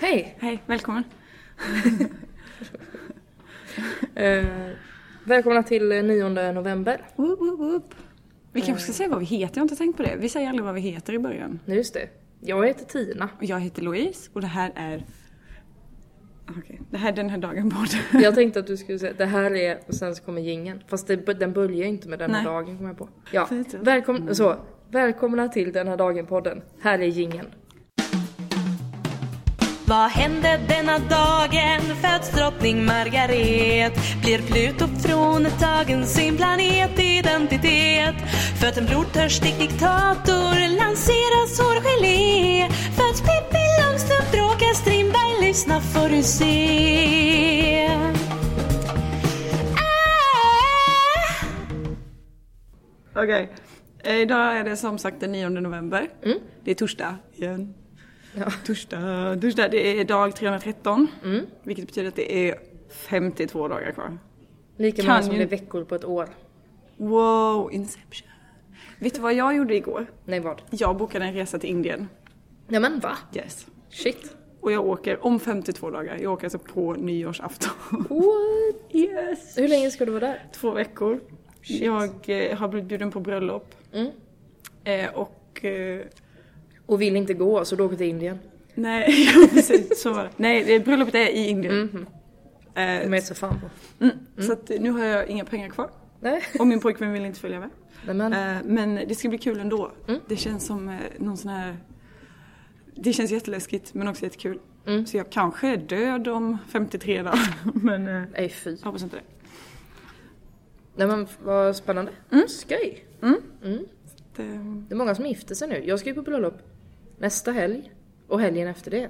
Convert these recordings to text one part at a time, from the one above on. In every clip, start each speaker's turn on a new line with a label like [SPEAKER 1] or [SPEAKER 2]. [SPEAKER 1] Hej!
[SPEAKER 2] Hej, välkommen.
[SPEAKER 1] Eh, välkomna till eh, 9 november.
[SPEAKER 2] Woop, woop, woop. Vi kanske ska säga vad vi heter, jag har inte tänkt på det. Vi säger aldrig vad vi heter i början.
[SPEAKER 1] Nu just det. Jag heter Tina.
[SPEAKER 2] Och jag heter Louise och det här är... Okej, det här är den här dagen bort.
[SPEAKER 1] Jag tänkte att du skulle säga det här är och sen så kommer gingen. Fast det, den börjar ju inte med den här
[SPEAKER 2] Nej. Mm.
[SPEAKER 1] dagen kommer jag på. Ja,
[SPEAKER 2] Precis.
[SPEAKER 1] välkom, så. Välkomna till den här dagen-podden. Här är gingen.
[SPEAKER 3] Vad hände denna dagen? Föds drottning Margaret? Blir Pluto fråntagen sin planetidentitet? Föds en blodtörstig diktator? Lanseras hårgelé? Föds Pippi Långstrump? Råkar Strindberg? Lyssna får du se. Ah!
[SPEAKER 2] Okej. Eh, Idag är det som sagt den 9 november. Det är torsdag igen.
[SPEAKER 1] Ja.
[SPEAKER 2] Torsdag, torsdag. Det är dag 313.
[SPEAKER 1] Mm.
[SPEAKER 2] Vilket betyder att det är 52 dagar kvar.
[SPEAKER 1] Lika
[SPEAKER 2] Kan
[SPEAKER 1] många som
[SPEAKER 2] ju-
[SPEAKER 1] det är veckor på ett år.
[SPEAKER 2] Wow, Inception. Vet du vad jag gjorde igår?
[SPEAKER 1] Nej vad?
[SPEAKER 2] Jag bokade en resa till Indien.
[SPEAKER 1] Nej men va?
[SPEAKER 2] Yes.
[SPEAKER 1] Shit.
[SPEAKER 2] Och jag åker om 52 dagar. Jag åker alltså på nyårsafton.
[SPEAKER 1] What?
[SPEAKER 2] Yes!
[SPEAKER 1] Hur länge ska du vara där?
[SPEAKER 2] Två veckor. Jag eh, har blivit bjuden på bröllop.
[SPEAKER 1] Mm.
[SPEAKER 2] Eh, och... Eh,
[SPEAKER 1] Och vill inte gå så du åker till Indien.
[SPEAKER 2] nej, ja, precis. Så var det. Nej, det- bröllopet är i Indien.
[SPEAKER 1] Mhm.
[SPEAKER 2] Eh,
[SPEAKER 1] De är så fan på.
[SPEAKER 2] mm. Så att nu har jag inga pengar kvar.
[SPEAKER 1] Nej.
[SPEAKER 2] Och min pojkvän vill inte följa med.
[SPEAKER 1] Nej men.
[SPEAKER 2] Eh, men det ska bli kul ändå.
[SPEAKER 1] Mm.
[SPEAKER 2] Det känns som eh, någon sån här... Det känns jätteläskigt men också jättekul.
[SPEAKER 1] Mm.
[SPEAKER 2] Så jag kanske är död om 53 dagar. men eh,
[SPEAKER 1] Nej fy.
[SPEAKER 2] jag hoppas inte det.
[SPEAKER 1] Nej men vad spännande. Skoj.
[SPEAKER 2] Mm.
[SPEAKER 1] Mm.
[SPEAKER 2] det
[SPEAKER 1] Det är många som gifter sig nu. Jag ska ju på bröllop nästa helg och helgen efter det.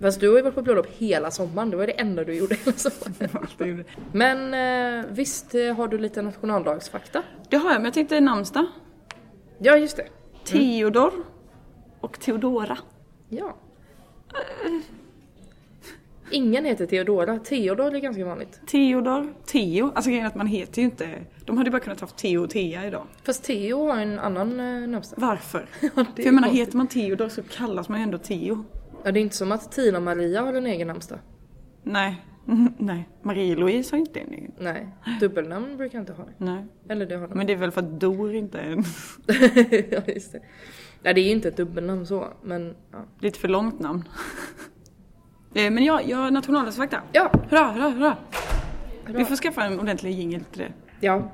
[SPEAKER 1] Fast du har ju varit på bröllop hela sommaren, det var det enda du gjorde hela sommaren.
[SPEAKER 2] allt jag gjorde.
[SPEAKER 1] Men eh, visst eh, har du lite nationaldagsfakta?
[SPEAKER 2] Det har jag, men jag tänkte namnsdag.
[SPEAKER 1] Ja, just det.
[SPEAKER 2] Theodor och Theodora.
[SPEAKER 1] Ja. Ingen heter Theodora, Theodor är ganska vanligt.
[SPEAKER 2] Theodor, Theo. Alltså grejen är att man heter ju inte... De hade ju bara kunnat haft Theo och Thea idag.
[SPEAKER 1] Fast Theo har en annan eh, namnsdag.
[SPEAKER 2] Varför? För
[SPEAKER 1] är
[SPEAKER 2] jag menar,
[SPEAKER 1] konstigt.
[SPEAKER 2] heter man Theodor så kallas man ju ändå Theo.
[SPEAKER 1] Ja, det är inte som att Tina Maria har en egen namnsdag.
[SPEAKER 2] Nej. Mm, Nej. Marie-Louise har inte en egen.
[SPEAKER 1] Nej, dubbelnamn brukar inte ha det.
[SPEAKER 2] Nej.
[SPEAKER 1] Eller det har de.
[SPEAKER 2] Men det är väl för att Dor inte är en...
[SPEAKER 1] ja, just det. Nej, det är ju inte ett dubbelnamn så, men ja.
[SPEAKER 2] Lite för långt namn. Eh, Men jag, jag har nationaldagsfakta.
[SPEAKER 1] Ja,
[SPEAKER 2] Hurra, hurra, hurra!
[SPEAKER 1] Hurra.
[SPEAKER 2] Vi får skaffa en ordentlig jingel till det.
[SPEAKER 1] ja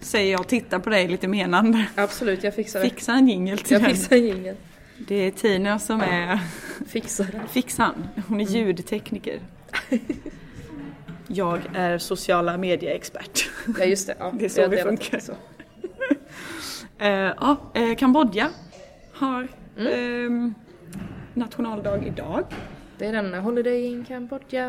[SPEAKER 2] Säger jag och tittar på dig lite menande.
[SPEAKER 1] absolut jag fixar det.
[SPEAKER 2] Fixa en jingel till
[SPEAKER 1] jag
[SPEAKER 2] den.
[SPEAKER 1] fixar ingen.
[SPEAKER 2] Det är Tina som är
[SPEAKER 1] Fixar det.
[SPEAKER 2] fixan. Hon är ljudtekniker. Jag är sociala medieexpert.
[SPEAKER 1] Ja just det. Ja,
[SPEAKER 2] Det är så
[SPEAKER 1] jag
[SPEAKER 2] vi
[SPEAKER 1] delar
[SPEAKER 2] funkar.
[SPEAKER 1] Så.
[SPEAKER 2] Eh, Ja, eh, Kambodja har ehm, nationaldag idag.
[SPEAKER 1] Det är den Holiday in Cambodia.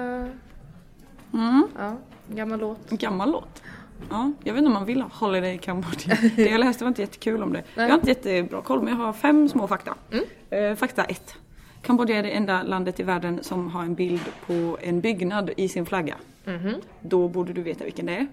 [SPEAKER 2] Mm.
[SPEAKER 1] Ja, en gammal låt.
[SPEAKER 2] En gammal låt. Ja, jag vet inte om man vill ha Holiday i Kambodja. Det jag läste var inte jättekul om det. Jag har inte jättebra koll men jag har fem små fakta. Eh, fakta 1. Kambodja är det enda landet i världen som har en bild på en byggnad i sin flagga. Då borde du veta vilken det är.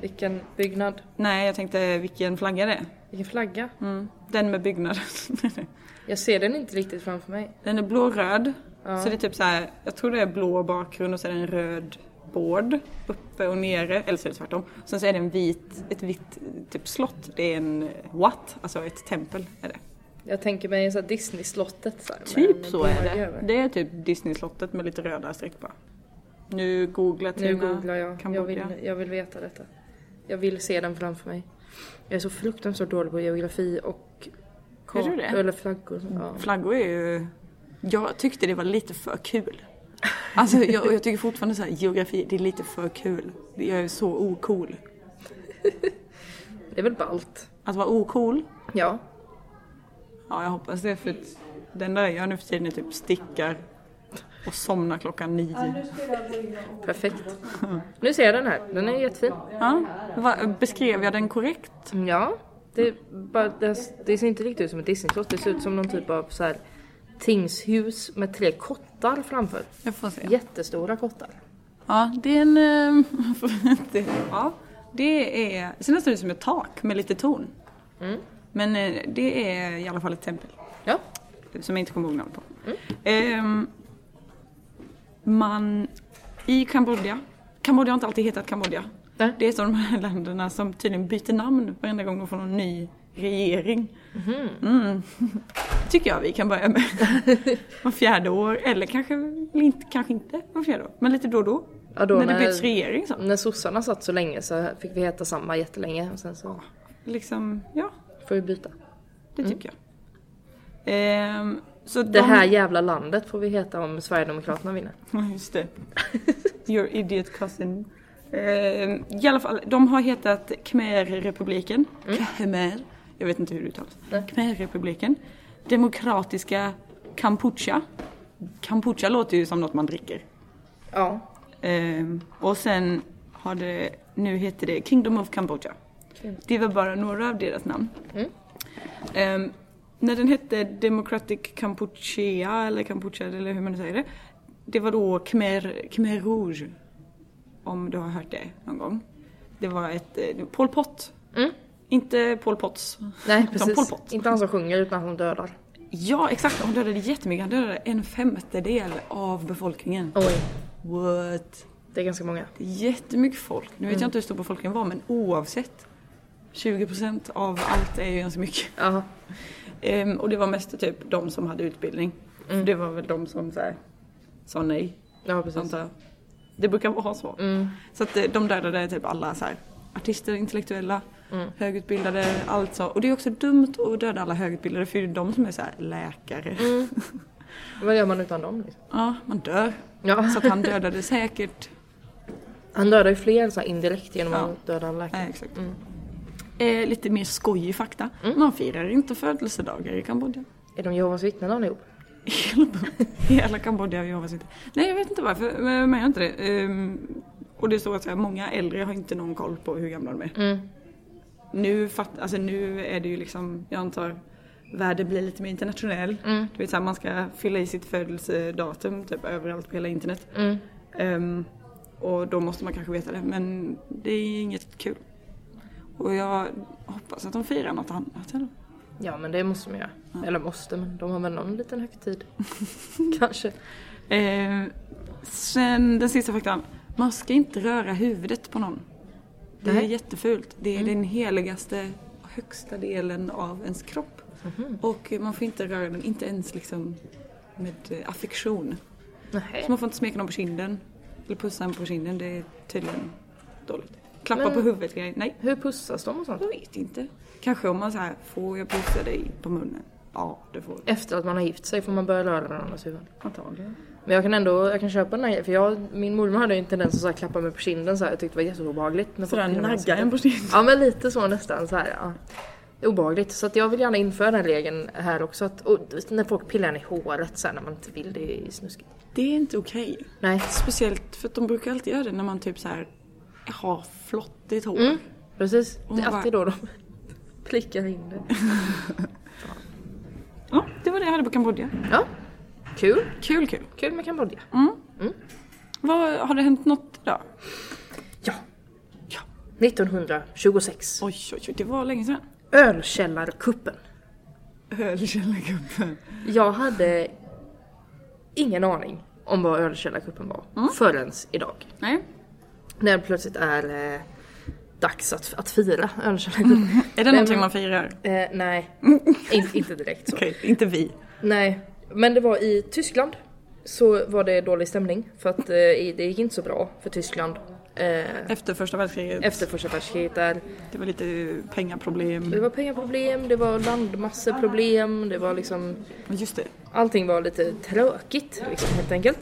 [SPEAKER 1] Vilken byggnad.
[SPEAKER 2] Nej, jag tänkte vilken flagga det är.
[SPEAKER 1] Vilken flagga.
[SPEAKER 2] Mm. Den med byggnaden.
[SPEAKER 1] Jag ser den inte riktigt framför mig.
[SPEAKER 2] den är blå-röd.
[SPEAKER 1] Ja.
[SPEAKER 2] Så det är typ så här, jag tror det är blå bakgrund och så är det en röd board uppe och nere, eller så är det tvärtom. Sen så är det en vit, ett vitt eh, typ slott. Det är en eh, wat, alltså ett tempel är det.
[SPEAKER 1] Jag tänker mig så här Disney-slottet. Så här,
[SPEAKER 2] Typ
[SPEAKER 1] med
[SPEAKER 2] så är
[SPEAKER 1] blåa
[SPEAKER 2] det.
[SPEAKER 1] över.
[SPEAKER 2] Det är typ Disney-slottet med lite röda streck bara. Nu googlar Tina
[SPEAKER 1] Nu googlar jag. Jag
[SPEAKER 2] Kambodja.
[SPEAKER 1] vill, jag vill veta detta. Jag vill se den framför mig. Jag är så fruktansvärt dålig på geografi och
[SPEAKER 2] Är du det? Mm.
[SPEAKER 1] eller flaggor. Ja.
[SPEAKER 2] Flaggor är ju... Jag tyckte det var lite för kul. Alltså jag, och jag tycker fortfarande så här, geografi, det är lite för kul. Jag är så ocool.
[SPEAKER 1] Det är väl ballt.
[SPEAKER 2] Att vara ocool,
[SPEAKER 1] Ja.
[SPEAKER 2] ja jag hoppas det för att det enda jag gör nu för tiden är typ stickar och somnar klockan nio.
[SPEAKER 1] Perfekt. Nu ser jag den här. Den är jättefin.
[SPEAKER 2] Ja, va, beskrev jag den korrekt?
[SPEAKER 1] Ja. Det, är bara, det, det ser inte riktigt ut som ett Disneyslott. Det ser ut som någon typ av så här, tingshus med tre kottar framför.
[SPEAKER 2] Jag får se.
[SPEAKER 1] Jättestora kottar.
[SPEAKER 2] Ja, det är en... eh, det- ja, det är... Det ser nästan ut som ett tak med lite torn. Men eh, det är i alla fall ett tempel.
[SPEAKER 1] Ja.
[SPEAKER 2] som jag inte kommer ihåg namnet på.
[SPEAKER 1] Mm.
[SPEAKER 2] Ehm, man, i Kambodja, Kambodja har inte alltid hetat Kambodja.
[SPEAKER 1] Nej.
[SPEAKER 2] Det är som de här länderna som tydligen byter namn varenda gång de får någon ny regering.
[SPEAKER 1] Mhm.
[SPEAKER 2] Mm. tycker jag vi kan börja med. Var fjärde år, eller kanske, inte- kanske inte var fjärde år, men lite då och då.
[SPEAKER 1] Ja, då
[SPEAKER 2] när,
[SPEAKER 1] när-
[SPEAKER 2] det byts regering så.
[SPEAKER 1] När sossarna satt så länge så fick vi heta samma jättelänge och sen så
[SPEAKER 2] Liksom, ja,
[SPEAKER 1] får vi byta.
[SPEAKER 2] det tycker jag. Ehm, så
[SPEAKER 1] Mm. Det här jävla landet får vi heta om Sverigedemokraterna vinner.
[SPEAKER 2] Ja, just det. Your idiot cousin. Ehm, I alla fall, de har hetat Khmerrepubliken. Khmer. Jag vet inte hur det uttalas. Khmerrepubliken. Demokratiska Kampuchea. Kampuchea låter ju som något man dricker.
[SPEAKER 1] Ja.
[SPEAKER 2] Ehm, och sen har det, nu heter det Kingdom of Cambodia. Det var bara några av deras namn. Ehm, när den hette Democratic Kampuchea eller Kampuchea eller hur man nu säger det. Det var då Khmer, Khmer Rouge. Om du har hört det någon gång. Det var ett eh, Pol Pot. Inte Pol Pots.
[SPEAKER 1] Nej
[SPEAKER 2] utan Pol
[SPEAKER 1] precis.
[SPEAKER 2] Pot.
[SPEAKER 1] Inte han som sjunger utan han som dödar.
[SPEAKER 2] Ja exakt, han dödade jättemycket. Han dödade en femtedel av befolkningen.
[SPEAKER 1] Oj.
[SPEAKER 2] What?
[SPEAKER 1] Det är ganska många.
[SPEAKER 2] Det är jättemycket folk. Nu vet jag inte hur stor befolkningen var men oavsett. 20% av allt är ju ganska mycket.
[SPEAKER 1] Jaha.
[SPEAKER 2] Ehm, och det var mest typ de som hade utbildning. Det var väl de som så här, sa nej.
[SPEAKER 1] Ja precis.
[SPEAKER 2] Antar jag. Det brukar vara så. Så att eh, de dödade typ alla så här, artister, intellektuella, högutbildade, allt så. Och det är också dumt att döda alla högutbildade för det är ju de som är så här, läkare.
[SPEAKER 1] Vad gör man utan dem liksom?
[SPEAKER 2] ja, man dör.
[SPEAKER 1] Ja.
[SPEAKER 2] Så att han dödade säkert
[SPEAKER 1] Han dödar ju fler så här indirekt genom
[SPEAKER 2] Ja.
[SPEAKER 1] att döda en läkare.
[SPEAKER 2] Nej, exakt. Mm. Eh, lite mer skojig fakta. Man firar inte födelsedagar i Kambodja.
[SPEAKER 1] Är de Jehovas vittnen allihop?
[SPEAKER 2] I hela- I hela Kambodja gör man inte. Nej, jag vet inte varför. Men jag menar inte det. Ehm, och det står att så här, många äldre har inte någon koll på hur gamla de är. Nu, fatt, alltså, nu är det ju liksom, jag antar, världen blir lite mer internationell. Du vet, så här, man ska fylla i sitt födelsedatum typ överallt på hela internet. Ehm, och då måste man kanske veta det. Men det är inget kul. Och jag hoppas att de firar något annat. Eller?
[SPEAKER 1] Ja men det måste man göra. Eller måste men de har väl någon liten högtid. Kanske.
[SPEAKER 2] Eh, sen den sista faktan. Man ska inte röra huvudet på någon. Det är
[SPEAKER 1] Nej. Mm.
[SPEAKER 2] jättefult. Det är den heligaste och högsta delen av ens kropp.
[SPEAKER 1] Mhm.
[SPEAKER 2] Och man får inte röra den, inte ens liksom med eh, affektion.
[SPEAKER 1] Nej.
[SPEAKER 2] Så man får inte smeka någon på kinden. Eller pussa någon på kinden, det är tydligen dåligt. Klappa
[SPEAKER 1] Men-
[SPEAKER 2] på huvudet, grejer. nej.
[SPEAKER 1] Hur pussas de och sånt?
[SPEAKER 2] Jag vet inte. Kanske om man så här, får jag pussa dig på munnen? Ja, det får du.
[SPEAKER 1] Efter att man har gift sig får man börja röra varandras huvuden.
[SPEAKER 2] Antagligen.
[SPEAKER 1] Men jag kan ändå, jag kan köpa den här för jag, min mormor hade ju en tendens att så här klappa mig på kinden så här. Jag tyckte det var jätteobehagligt. Men
[SPEAKER 2] Sådär
[SPEAKER 1] folk kunde
[SPEAKER 2] nagga
[SPEAKER 1] säga-
[SPEAKER 2] en på kinden.
[SPEAKER 1] Ja men lite så nästan så här. Ja. Obehagligt. Så att jag vill gärna införa den här regeln här också. Att, och, när folk pillar en i håret så här, när man inte vill det är snuskigt.
[SPEAKER 2] Det är inte okej.
[SPEAKER 1] Nej.
[SPEAKER 2] Speciellt för att de brukar alltid göra det när man typ så här har flottigt hår.
[SPEAKER 1] Mm, precis.
[SPEAKER 2] Och
[SPEAKER 1] Det är
[SPEAKER 2] bara-
[SPEAKER 1] alltid då de prickar in det.
[SPEAKER 2] Ja, det var det jag hade på Kambodja.
[SPEAKER 1] Ja. Kul.
[SPEAKER 2] Kul, kul.
[SPEAKER 1] Kul med Kambodja.
[SPEAKER 2] Vad, har det hänt något idag?
[SPEAKER 1] Ja.
[SPEAKER 2] Ja.
[SPEAKER 1] 1926.
[SPEAKER 2] Oj, oj, oj, det var länge sedan.
[SPEAKER 1] Ölkällarkuppen.
[SPEAKER 2] Ölkällargubben.
[SPEAKER 1] Jag hade ingen aning om vad ölkällarkuppen var förrän idag.
[SPEAKER 2] Nej.
[SPEAKER 1] När det plötsligt är eh, dags att, att fira ölkällarkuppen.
[SPEAKER 2] Är det någonting man firar?
[SPEAKER 1] Eh, nej, In, inte direkt så.
[SPEAKER 2] Okej, inte vi.
[SPEAKER 1] Nej, men det var i Tyskland så var det dålig stämning för att eh, i- det gick inte så bra för Tyskland eh,
[SPEAKER 2] Efter första världskriget.
[SPEAKER 1] efter första världskriget där.
[SPEAKER 2] Det var lite pengaproblem.
[SPEAKER 1] Det var pengaproblem, det var landmasseproblem, det var liksom
[SPEAKER 2] Men Just det.
[SPEAKER 1] allting var lite tråkigt liksom, helt enkelt.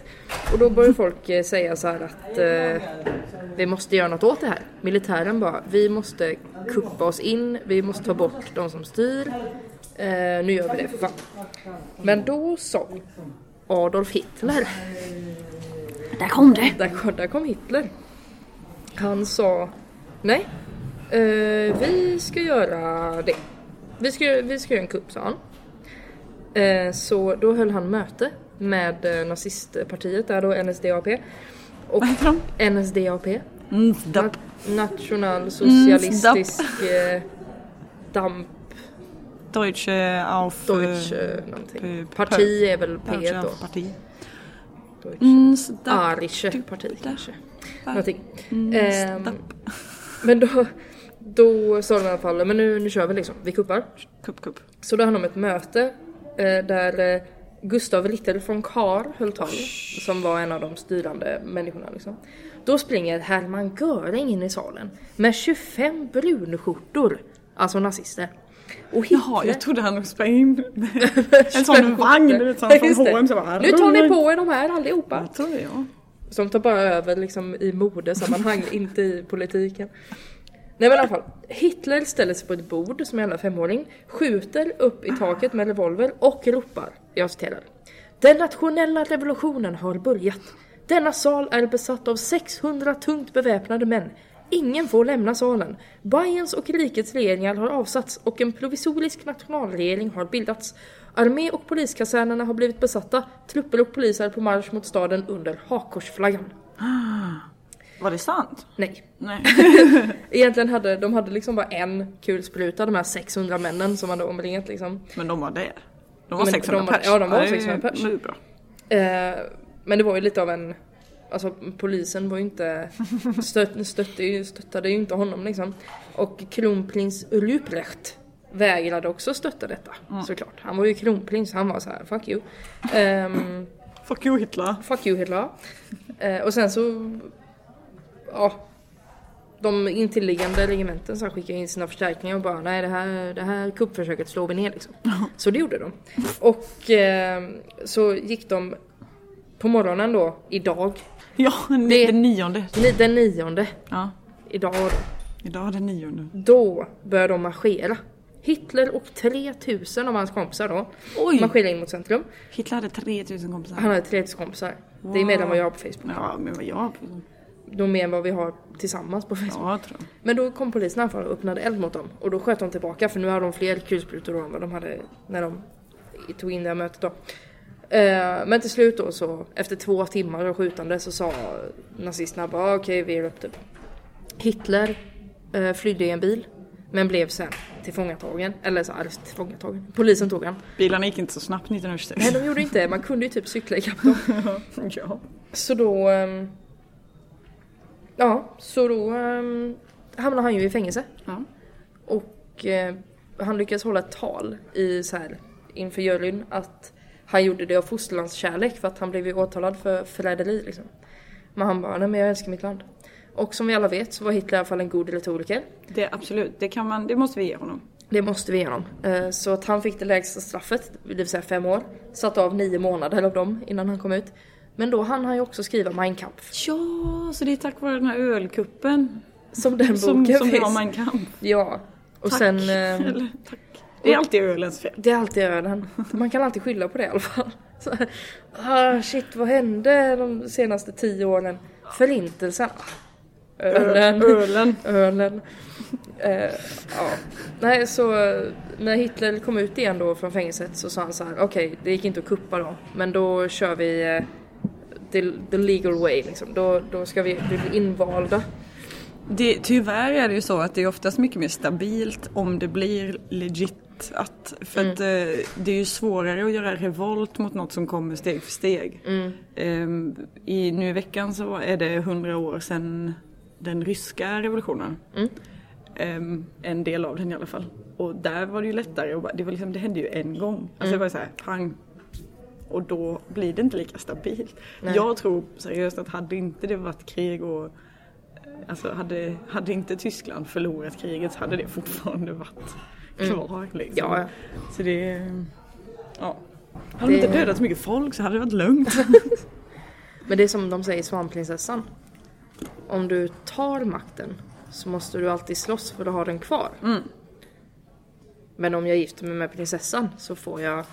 [SPEAKER 1] Och då började folk eh, säga så här att eh, vi måste göra något åt det här. Militären bara, vi måste kuppa oss in, vi måste ta bort de som styr. Eh, nu gör vi det för fan. Men då sa Adolf Hitler
[SPEAKER 2] Där kom det!
[SPEAKER 1] där, kom- där kom Hitler. Han sa nej, eh, vi ska göra det. Vi ska, vi ska göra en kupp, sa han. Eh, så då höll han möte med eh, nazistpartiet där då, NSDAP. Och
[SPEAKER 2] Vad heter de?
[SPEAKER 1] NSDAP,
[SPEAKER 2] Mm,
[SPEAKER 1] na-
[SPEAKER 2] Mm,
[SPEAKER 1] nationalsocialistisk eh, damp...
[SPEAKER 2] Deutsche auf...
[SPEAKER 1] Deutsche
[SPEAKER 2] P-
[SPEAKER 1] eh, någonting.
[SPEAKER 2] P-
[SPEAKER 1] Parti är väl P1
[SPEAKER 2] Deutsche
[SPEAKER 1] då?
[SPEAKER 2] auf Mm, typ. Parti.
[SPEAKER 1] Deutsche.
[SPEAKER 2] Mm, stapp.
[SPEAKER 1] Arische parti kanske. Någonting.
[SPEAKER 2] Mm,
[SPEAKER 1] Ehm,
[SPEAKER 2] stapp.
[SPEAKER 1] men då, då sa de i alla fall, men nu, nu kör vi liksom, vi kuppar.
[SPEAKER 2] Kupp, kupp.
[SPEAKER 1] Så då hade de ett möte eh, där eh, Gustav Ritter von Kahr höll tal, som var en av de styrande människorna. Liksom. Då springer Hermann Göring in i salen med 25 brunskjortor, alltså nazister. Och
[SPEAKER 2] Jaha, jag trodde han sprang in med en sån vagn du vet, sån
[SPEAKER 1] Ja,
[SPEAKER 2] från
[SPEAKER 1] just det.
[SPEAKER 2] H&M så bara,
[SPEAKER 1] Nu tar ni på er de här allihopa!
[SPEAKER 2] Jag tror det, ja.
[SPEAKER 1] Som tar bara över liksom i modesammanhang, inte i politiken. Nej men i alla fall. Hitler ställer sig på ett bord som en jävla femåring, skjuter upp i taket med revolver och ropar, jag citerar. Den nationella revolutionen har börjat. Denna sal är besatt av 600 tungt beväpnade män. Ingen får lämna salen. Bayerns och rikets regeringar har avsatts och en provisorisk nationalregering har bildats. Armé och poliskasernerna har blivit besatta. Trupper och polis är på marsch mot staden under hakkorsflaggan.
[SPEAKER 2] Var det sant?
[SPEAKER 1] Nej.
[SPEAKER 2] Nej.
[SPEAKER 1] Egentligen hade de hade liksom bara en kulspruta, de här 600 männen som hade omringat liksom.
[SPEAKER 2] Men de var där. De var
[SPEAKER 1] Men
[SPEAKER 2] 600
[SPEAKER 1] de var-
[SPEAKER 2] pers.
[SPEAKER 1] ja, de var
[SPEAKER 2] det är-
[SPEAKER 1] 600 pers.
[SPEAKER 2] Det är bra.
[SPEAKER 1] Eh, men det var ju lite av en... Alltså polisen var ju inte... Stött, stötte, ju- stöttade ju inte honom liksom. Och kronprins Ruprecht vägrade också stötta detta såklart. Han var ju kronprins, han var så här: fuck you. Ehm,
[SPEAKER 2] Fuck you Hitler.
[SPEAKER 1] fuck you Hitler. Eh, och sen så... Ja. De intilliggande regementen så här skickade in sina förstärkningar och bara nej det här, det här kuppförsöket slår vi ner liksom. Så det gjorde de. Och eh, så gick de på morgonen då, idag,
[SPEAKER 2] Ja, den
[SPEAKER 1] Det-
[SPEAKER 2] den nionde.
[SPEAKER 1] ni- den nionde,
[SPEAKER 2] Ja,
[SPEAKER 1] idag då,
[SPEAKER 2] idag är den nionde.
[SPEAKER 1] då började de marschera. Hitler och 3000 av hans kompisar då
[SPEAKER 2] Oj.
[SPEAKER 1] marscherade in mot centrum.
[SPEAKER 2] Hitler hade 3000 kompisar.
[SPEAKER 1] Han hade 3000 kompisar. Det är mer än vad jag har på Facebook.
[SPEAKER 2] Ja, men vad jag...
[SPEAKER 1] De är mer än vad vi har tillsammans på Facebook.
[SPEAKER 2] Ja, jag tror
[SPEAKER 1] Men då kom polisen i alla fall och öppnade eld mot dem och då sköt de tillbaka för nu hade de fler kulsprutor än vad de hade när de tog in det här mötet då. Eh, Men till slut då så efter två timmar av skjutande så sa nazisterna bara "Ah, okej vi ger upp typ. Hitler eh, flydde i en bil men blev sen tillfångatagen, eller så arrest tillfångatagen. Polisen tog han.
[SPEAKER 2] Bilarna gick inte så snabbt 1926.
[SPEAKER 1] Nej de gjorde inte det, man kunde ju typ cykla ikapp dem.
[SPEAKER 2] ja.
[SPEAKER 1] Så då... ehm, Ja, så då ehm, hamnade han ju i fängelse.
[SPEAKER 2] ja.
[SPEAKER 1] Och eh, han lyckades hålla ett tal i, så här, inför juryn att han gjorde det av fosterlandskärlek för att han blev ju åtalad för förräderi. Liksom. Men han bara, nej men jag älskar mitt land. Och som vi alla vet så var Hitler i alla fall en god retoriker.
[SPEAKER 2] Det, absolut, det, kan man, det måste vi ge honom.
[SPEAKER 1] Det måste vi igenom. Eh, Så att han fick det lägsta straffet, det vill säga fem år. Satt av nio månader av dem innan han kom ut. Men då hann han ju också skriva Mein Kampf.
[SPEAKER 2] Ja, så det är tack vare den här ölkuppen
[SPEAKER 1] Som den
[SPEAKER 2] som,
[SPEAKER 1] boken
[SPEAKER 2] som var
[SPEAKER 1] finns.
[SPEAKER 2] Mein Kampf.
[SPEAKER 1] Ja. Och
[SPEAKER 2] Tack.
[SPEAKER 1] sen... eh,
[SPEAKER 2] Eller, tack. Det är alltid ölens fel.
[SPEAKER 1] Det är alltid ölen. Man kan alltid skylla på det i alla fall. Så, här, ah, shit, vad hände de senaste tio åren? Förintelsen. Ah, Ölen.
[SPEAKER 2] Ölen.
[SPEAKER 1] Ölen. Eh, ja. Nej, så eh, när Hitler kom ut igen då från fängelset så sa han så här, okej, det gick inte att kuppa då, men då kör vi eh, the, the legal way liksom. Då, då ska vi bli invalda.
[SPEAKER 2] Det, tyvärr är det ju så att det är oftast mycket mer stabilt om det blir legit. Att, för att
[SPEAKER 1] Mm.
[SPEAKER 2] eh, det är ju svårare att göra revolt mot något som kommer steg för steg.
[SPEAKER 1] Mm.
[SPEAKER 2] Ehm, i, nu i veckan så är det 100 år sedan den ryska revolutionen. Ehm, en del av den i alla fall. Och där var det ju lättare. Och bara, det, var liksom, det hände ju en gång. Alltså
[SPEAKER 1] Mm.
[SPEAKER 2] det var ju så här, pang. Och då blir det inte lika stabilt.
[SPEAKER 1] Nej.
[SPEAKER 2] Jag tror seriöst att hade inte det varit krig och Alltså hade, hade inte Tyskland förlorat kriget så hade det fortfarande varit kvar. Liksom.
[SPEAKER 1] Mm. Ja, ja.
[SPEAKER 2] Så det... Ja. Hade de
[SPEAKER 1] Det-
[SPEAKER 2] inte dödat så mycket folk så hade det varit lugnt.
[SPEAKER 1] Men det är som de säger i Svanprinsessan. Om du tar makten så måste du alltid slåss för att ha den kvar.
[SPEAKER 2] Mm.
[SPEAKER 1] Men om jag gifter mig med prinsessan så får jag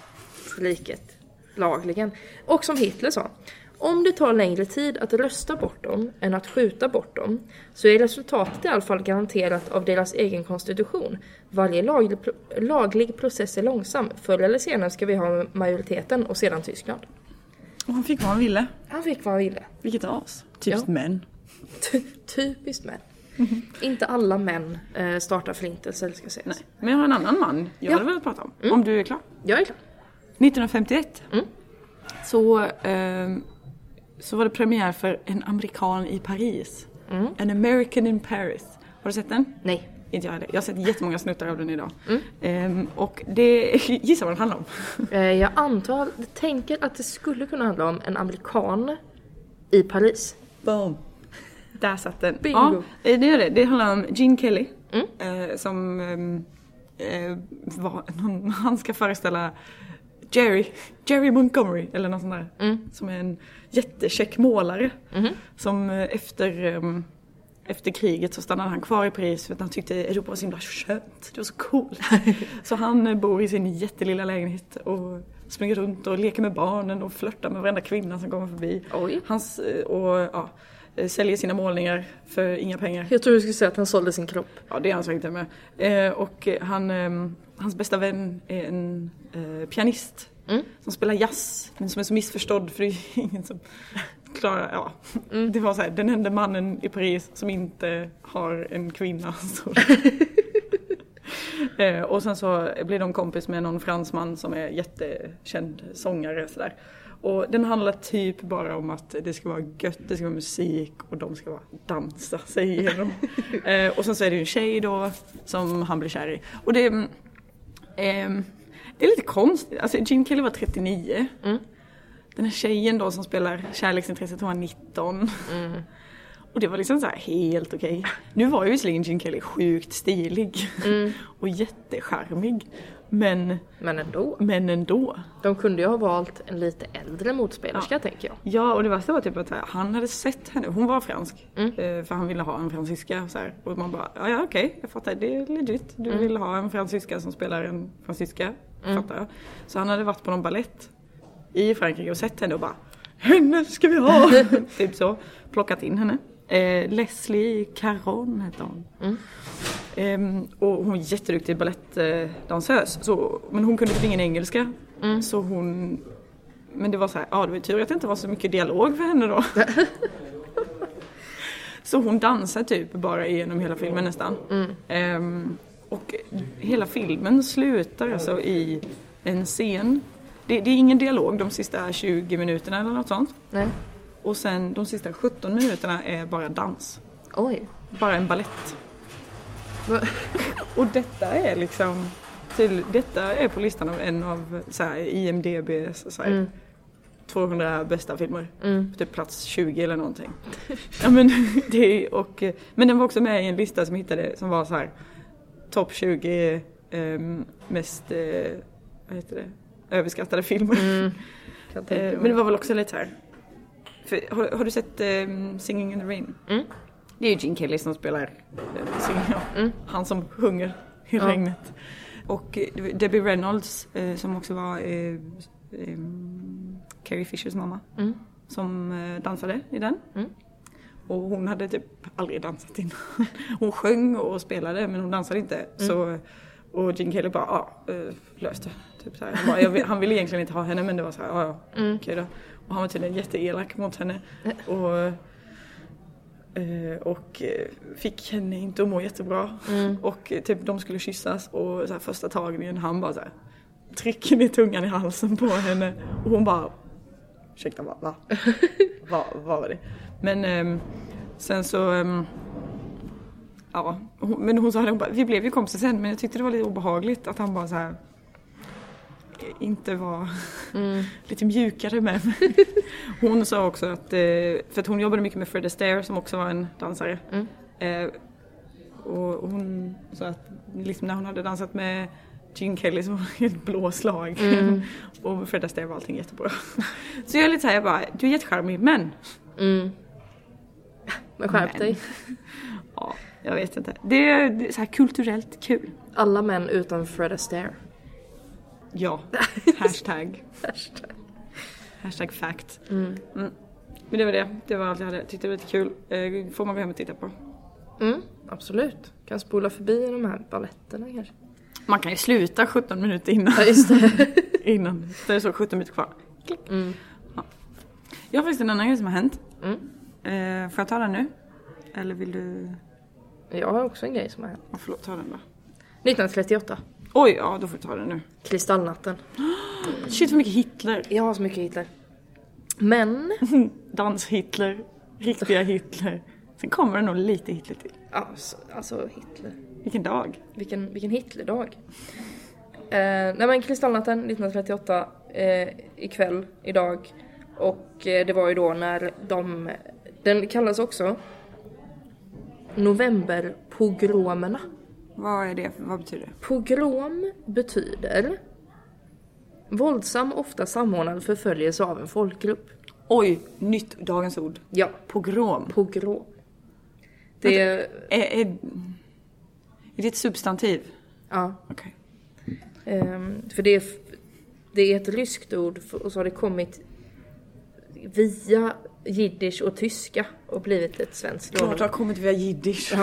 [SPEAKER 1] riket lagligen. Och som Hitler sa. Om det tar längre tid att rösta bort dem än att skjuta bort dem så är resultatet i alla fall garanterat av deras egen konstitution. Varje laglig, pro- laglig process är långsam. Förr eller senare ska vi ha majoriteten och sedan Tyskland.
[SPEAKER 2] Och han fick vad han ville.
[SPEAKER 1] Han fick vad han ville.
[SPEAKER 2] Vilket as. Typiskt
[SPEAKER 1] Ja.
[SPEAKER 2] män.
[SPEAKER 1] Ty- Typiskt män. Inte alla män eh, startar förintelser ska sägas.
[SPEAKER 2] Nej. Men jag har en annan man jag
[SPEAKER 1] Ja. Mm.
[SPEAKER 2] hade velat prata om. Om du är klar.
[SPEAKER 1] Jag är klar.
[SPEAKER 2] 1951
[SPEAKER 1] Mm.
[SPEAKER 2] så, ehm, så var det premiär för En amerikan i Paris. An American in Paris. Har du sett den?
[SPEAKER 1] Mm. Nej. Mm.
[SPEAKER 2] Inte jag heller. Jag har sett jättemånga snuttar av den idag. Ehm, och det, gissa vad den handlar om?
[SPEAKER 1] Eh, jag antar, jag tänker att det skulle kunna handla om en amerikan i Paris.
[SPEAKER 2] Boom. Där satt den.
[SPEAKER 1] Bingo. Mm.
[SPEAKER 2] Ja, eh, det gör det. Det handlar om Gene Kelly. Eh, som ehm, eh, var, någon, han ska föreställa Jerry, Jerry Montgomery eller någon sån där. Som är en jättekäck målare. Som eh, efter, ehm, efter kriget så stannade han kvar i Paris för att han tyckte Europa var så himla skönt. Det var så coolt. så han eh, bor i sin jättelilla lägenhet och springer runt och leker med barnen och flörtar med varenda kvinna som kommer förbi.
[SPEAKER 1] Oj.
[SPEAKER 2] Hans, eh, och, ja, eh, säljer sina målningar för inga pengar.
[SPEAKER 1] Jag tror du skulle säga att han sålde sin kropp.
[SPEAKER 2] Ja, det är han säkert med. Eh, och eh, han, ehm, hans bästa vän är en eh, pianist som spelar jazz, men som är så missförstådd för det är ingen som klarar, ja. Det var så här, den enda mannen i Paris som inte har en kvinna. Så. Eh, och sen så blir de kompis med någon fransman som är jättekänd sångare sådär. Och den handlar typ bara om att det ska vara gött, det ska vara musik och de ska bara dansa sig igenom. eh, och sen så är det ju en tjej då som han blir kär i. Och det, mm, ehm, det är lite konstigt, alltså Gene Kelly var 39. Den här tjejen då som spelar kärleksintresset hon var 19. Och det var liksom så här helt okej. Nu var ju visserligen Gene Kelly sjukt stilig och jättecharmig. Men,
[SPEAKER 1] Men ändå.
[SPEAKER 2] men ändå.
[SPEAKER 1] De kunde ju ha valt en lite äldre motspelerska tänker jag.
[SPEAKER 2] Ja, och det värsta var typ att så här, han hade sett henne, hon var fransk. eh, För han ville ha en fransyska. och Så här. Och man bara, ja, ja okej, jag fattar, det är legit. Du vill ha en fransyska som spelar en fransyska. Fattar jag. Så han hade varit på någon ballett i Frankrike och sett henne och bara, henne ska vi ha! typ så. Plockat in henne. Eh, Leslie Caron hette hon. Ehm, och hon är jätteduktig balettdansös. Så, men hon kunde typ ingen engelska. Så hon... Men det var så här, ja det var ju tur att det inte var så mycket dialog för henne då. så hon dansar typ bara igenom hela filmen nästan. Ehm, och hela filmen slutar alltså i en scen. Det, det är ingen dialog de sista 20 minuterna eller något sånt.
[SPEAKER 1] Nej.
[SPEAKER 2] Och sen de sista 17 minuterna är bara dans.
[SPEAKER 1] Oj.
[SPEAKER 2] Bara en ballett.
[SPEAKER 1] Va-
[SPEAKER 2] Och detta är liksom till, detta är på listan av en av så här, IMDBs så här, 200 bästa filmer. Typ plats 20 eller någonting. ja, men, det, är- och, eh, men den var också med i en lista som jag hittade som var så här topp 20 ehm, mest eh, vad heter det? överskattade filmer.
[SPEAKER 1] Kan tänka
[SPEAKER 2] Eh,
[SPEAKER 1] mig.
[SPEAKER 2] men det var väl också lite så här. För, har, har du sett ehm, Singing in the Rain? Det är ju Gene Kelly som spelar eh, Singing ja. Han som sjunger i regnet. Och eh, det var Debbie Reynolds eh, som också var eh, ehm, Carrie Fishers mamma. Som eh, dansade i den. Och hon hade typ aldrig dansat innan. Hon sjöng och spelade men hon dansade inte. Så, och Gene Kelly bara, ja, eh, löste. Typ så här. Han, bara, jag vill, han ville egentligen inte ha henne men det var så här, ja, ja, okej då. Och han var tydligen jätteelak mot henne. Och, eh, och eh, fick henne inte att må jättebra. Och eh, typ de skulle kyssas och så här, första tagningen han bara så här, trycker ner tungan i halsen på henne. Och hon bara, ursäkta va? va? Vad vad var det? Men ehm, sen så... ehm, ja, hon, men hon sa hon bara, vi blev ju kompisar sen men jag tyckte det var lite obehagligt att han bara så här eh, inte var lite mjukare med mig. Hon sa också att, eh, för att hon jobbade mycket med Fred Astaire som också var en dansare. Eh, och och hon sa att liksom när hon hade dansat med Gene Kelly så var hon helt blå slag. och med Fred Astaire var allting jättebra. så jag är lite såhär, jag bara, du är jättecharmig men
[SPEAKER 1] Mm. Men skärp
[SPEAKER 2] Men.
[SPEAKER 1] dig.
[SPEAKER 2] Ja, jag vet inte. Det är, det är så här kulturellt kul.
[SPEAKER 1] Alla män utan Fred Astaire.
[SPEAKER 2] Ja. Hashtag.
[SPEAKER 1] Hashtag.
[SPEAKER 2] Hashtag fact. Mm. Men det var det. Det var allt jag hade. Tyckte det var lite kul. Eh, Får man gå hem och titta på.
[SPEAKER 1] Mm, absolut. Kan spola förbi de här baletterna kanske.
[SPEAKER 2] Man kan ju sluta 17 minuter innan.
[SPEAKER 1] Ja, just det.
[SPEAKER 2] innan. Det är så 17 minuter kvar. Klick. Ja. Jag har faktiskt en annan grej som har hänt.
[SPEAKER 1] Mm.
[SPEAKER 2] Eh, får jag ta den nu? Eller vill du?
[SPEAKER 1] Jag har också en grej som har hänt.
[SPEAKER 2] Ja, förlåt, ta den då.
[SPEAKER 1] 1938.
[SPEAKER 2] Oj, ja då får du ta den nu.
[SPEAKER 1] Kristallnatten.
[SPEAKER 2] Shit vad mycket Hitler.
[SPEAKER 1] Jag har så mycket Hitler. Men,
[SPEAKER 2] Dans-Hitler. Riktiga Hitler. Sen kommer det nog lite Hitler till.
[SPEAKER 1] alltså, alltså Hitler.
[SPEAKER 2] Vilken dag.
[SPEAKER 1] Vilken, vilken Hitlerdag. Eh, nej men Kristallnatten 1938 eh, ikväll, idag. Och eh, det var ju då när de, den kallas också Novemberpogromerna.
[SPEAKER 2] Vad är det? Vad betyder det?
[SPEAKER 1] Pogrom betyder våldsam, ofta samordnad förföljelse av en folkgrupp.
[SPEAKER 2] Oj, nytt dagens ord.
[SPEAKER 1] Ja,
[SPEAKER 2] Pogrom.
[SPEAKER 1] pogrom. Det är,
[SPEAKER 2] Är, är, är det ett substantiv?
[SPEAKER 1] ja,
[SPEAKER 2] Okej.
[SPEAKER 1] Ehm, för det är, f- det är ett ryskt ord f- och så har det kommit via jiddisch och tyska och blivit ett svenskt
[SPEAKER 2] Klart det
[SPEAKER 1] ord.
[SPEAKER 2] har kommit via jiddisch.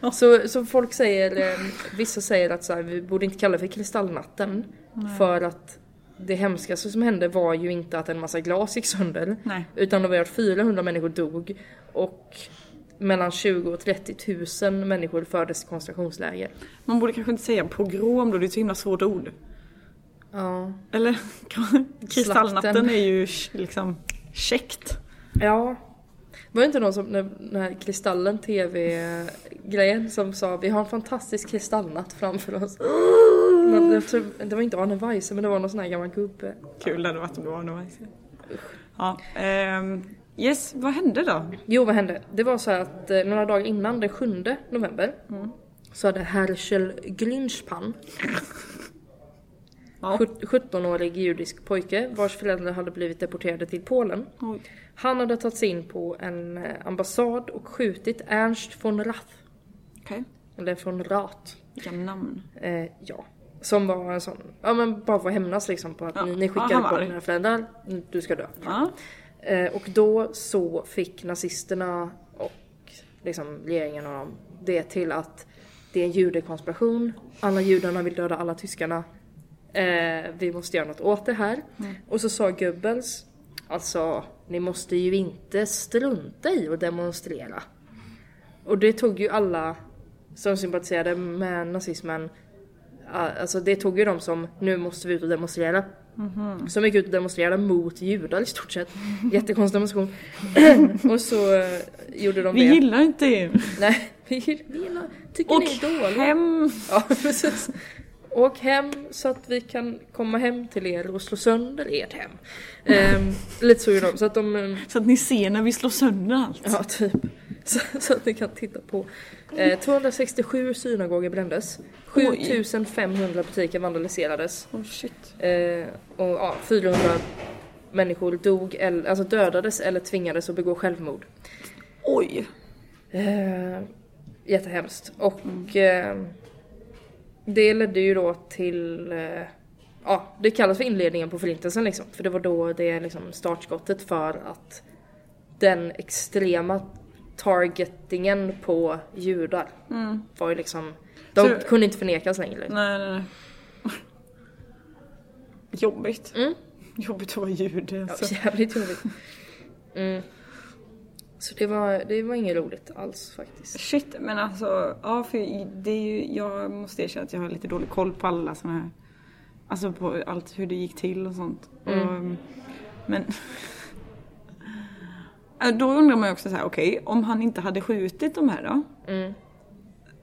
[SPEAKER 1] Ja. så, så folk säger, ehm, vissa säger att så här, vi borde inte kalla det för kristallnatten för att det hemskaste som hände var ju inte att en massa glas gick sönder
[SPEAKER 2] Nej.
[SPEAKER 1] utan det var ju att 400 människor dog och mellan 20 000 och 30 000 människor fördes till koncentrationsläger.
[SPEAKER 2] Man borde kanske inte säga pogrom då, det är ett så himla svårt ord.
[SPEAKER 1] Ja.
[SPEAKER 2] Eller kristallnatten är ju sh- liksom käckt.
[SPEAKER 1] Ja. Var det inte någon som, när, när Kristallen TV-grejen som sa vi har en fantastisk kristallnatt framför oss. Men jag tror, det var inte Arne Weise men det var någon sån här gammal gubbe.
[SPEAKER 2] Kul det hade varit om det var någon vajse. Ja, ehm, Yes, vad hände då?
[SPEAKER 1] Jo vad hände? Det var så här att eh, några dagar innan, den 7 november, så hade Herschel Glinchpan,
[SPEAKER 2] Ja.
[SPEAKER 1] sjut- 17-årig judisk pojke vars föräldrar hade blivit deporterade till Polen.
[SPEAKER 2] Oj.
[SPEAKER 1] Han hade tagit sig in på en eh, ambassad och skjutit Ernst von Rath,
[SPEAKER 2] Okej,
[SPEAKER 1] eller von Rath.
[SPEAKER 2] vilka namn.
[SPEAKER 1] Eh, ja. Som var en sån, ja men bara för att hämnas liksom på att
[SPEAKER 2] Ja.
[SPEAKER 1] ni, ni
[SPEAKER 2] Ja,
[SPEAKER 1] skickade
[SPEAKER 2] han var
[SPEAKER 1] på
[SPEAKER 2] arg.
[SPEAKER 1] dina föräldrar, du ska dö.
[SPEAKER 2] Ja.
[SPEAKER 1] Eh, och då så fick nazisterna och liksom regeringen och dem det till att det är en judekonspiration, alla judarna vill döda alla tyskarna, eh, vi måste göra något åt det här.
[SPEAKER 2] Mm.
[SPEAKER 1] Och så sa Goebbels, alltså ni måste ju inte strunta i att demonstrera. Och det tog ju alla som sympatiserade med nazismen, a- alltså det tog ju de som nu måste vi ut och demonstrera.
[SPEAKER 2] Mm-hmm.
[SPEAKER 1] Som gick ut och demonstrerade mot judar i stort sett. Jättekonstig demonstration. och så eh, gjorde de
[SPEAKER 2] Vi
[SPEAKER 1] det.
[SPEAKER 2] gillar inte er.
[SPEAKER 1] Nej, vi gillar, vi gillar tycker
[SPEAKER 2] Och
[SPEAKER 1] ni är dåliga.
[SPEAKER 2] hem.
[SPEAKER 1] Ja, precis. Åk hem så att vi kan komma hem till er och slå sönder ert hem. Ehm, lite så gjorde de. Så att de ehm,
[SPEAKER 2] Så att ni ser när vi slår sönder allt.
[SPEAKER 1] Ja, typ. Så, så att ni kan titta på. Eh, 267 synagoger brändes. 7500 butiker vandaliserades.
[SPEAKER 2] Oh shit.
[SPEAKER 1] Eh, och ja, 400 människor dog, eller, alltså dödades eller tvingades att begå självmord.
[SPEAKER 2] Oj.
[SPEAKER 1] Eh, jättehemskt.
[SPEAKER 2] Mm.
[SPEAKER 1] Och eh, det ledde ju då till, eh, ja det kallas för inledningen på förintelsen liksom. För det var då det liksom startskottet för att den extrema targetingen på judar var ju liksom, de
[SPEAKER 2] Mm. Så-
[SPEAKER 1] kunde inte förnekas längre.
[SPEAKER 2] Nej, nej, nej. Jobbigt.
[SPEAKER 1] Mm.
[SPEAKER 2] Jobbigt att vara jude.
[SPEAKER 1] Ja,
[SPEAKER 2] Alltså.
[SPEAKER 1] jävligt jobbigt. Mm. Så det var, det var inget roligt alls faktiskt.
[SPEAKER 2] Shit, men alltså, ja för det är ju, jag måste erkänna att jag har lite dålig koll på alla såna här, alltså på allt hur det gick till och sånt.
[SPEAKER 1] Mm.
[SPEAKER 2] Och, men... Äh, Då undrar man ju också så här, okej, om han inte hade skjutit de här då?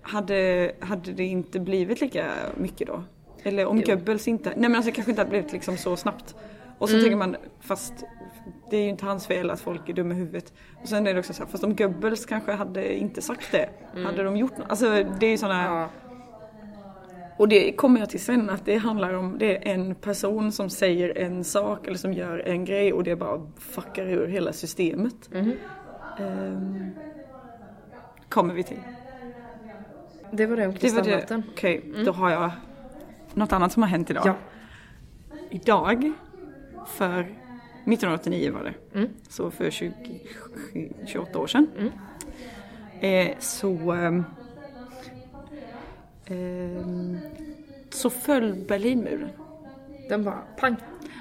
[SPEAKER 2] Hade, hade det inte blivit lika mycket då? Eller om Goebbels inte, nej men alltså det kanske inte hade blivit liksom så snabbt. Och så tänker man, fast det är ju inte hans fel att folk är dumma i huvudet. Och sen är det också så här, fast om Goebbels kanske hade inte sagt det, hade de gjort något? Alltså det är ju sådana
[SPEAKER 1] Ja.
[SPEAKER 2] och det kommer jag till sen att det handlar om, det är en person som säger en sak eller som gör en grej och det bara fuckar ur hela systemet. Ehm, kommer vi till.
[SPEAKER 1] Det var det om
[SPEAKER 2] Det var det.
[SPEAKER 1] kristallnatten.
[SPEAKER 2] Okej, då har jag något annat som har hänt idag.
[SPEAKER 1] Ja.
[SPEAKER 2] Idag, för 1989 var det, så för 20, 28 år sedan. Eh, så, ehm, ehm, så föll Berlinmuren.
[SPEAKER 1] Den bara pang.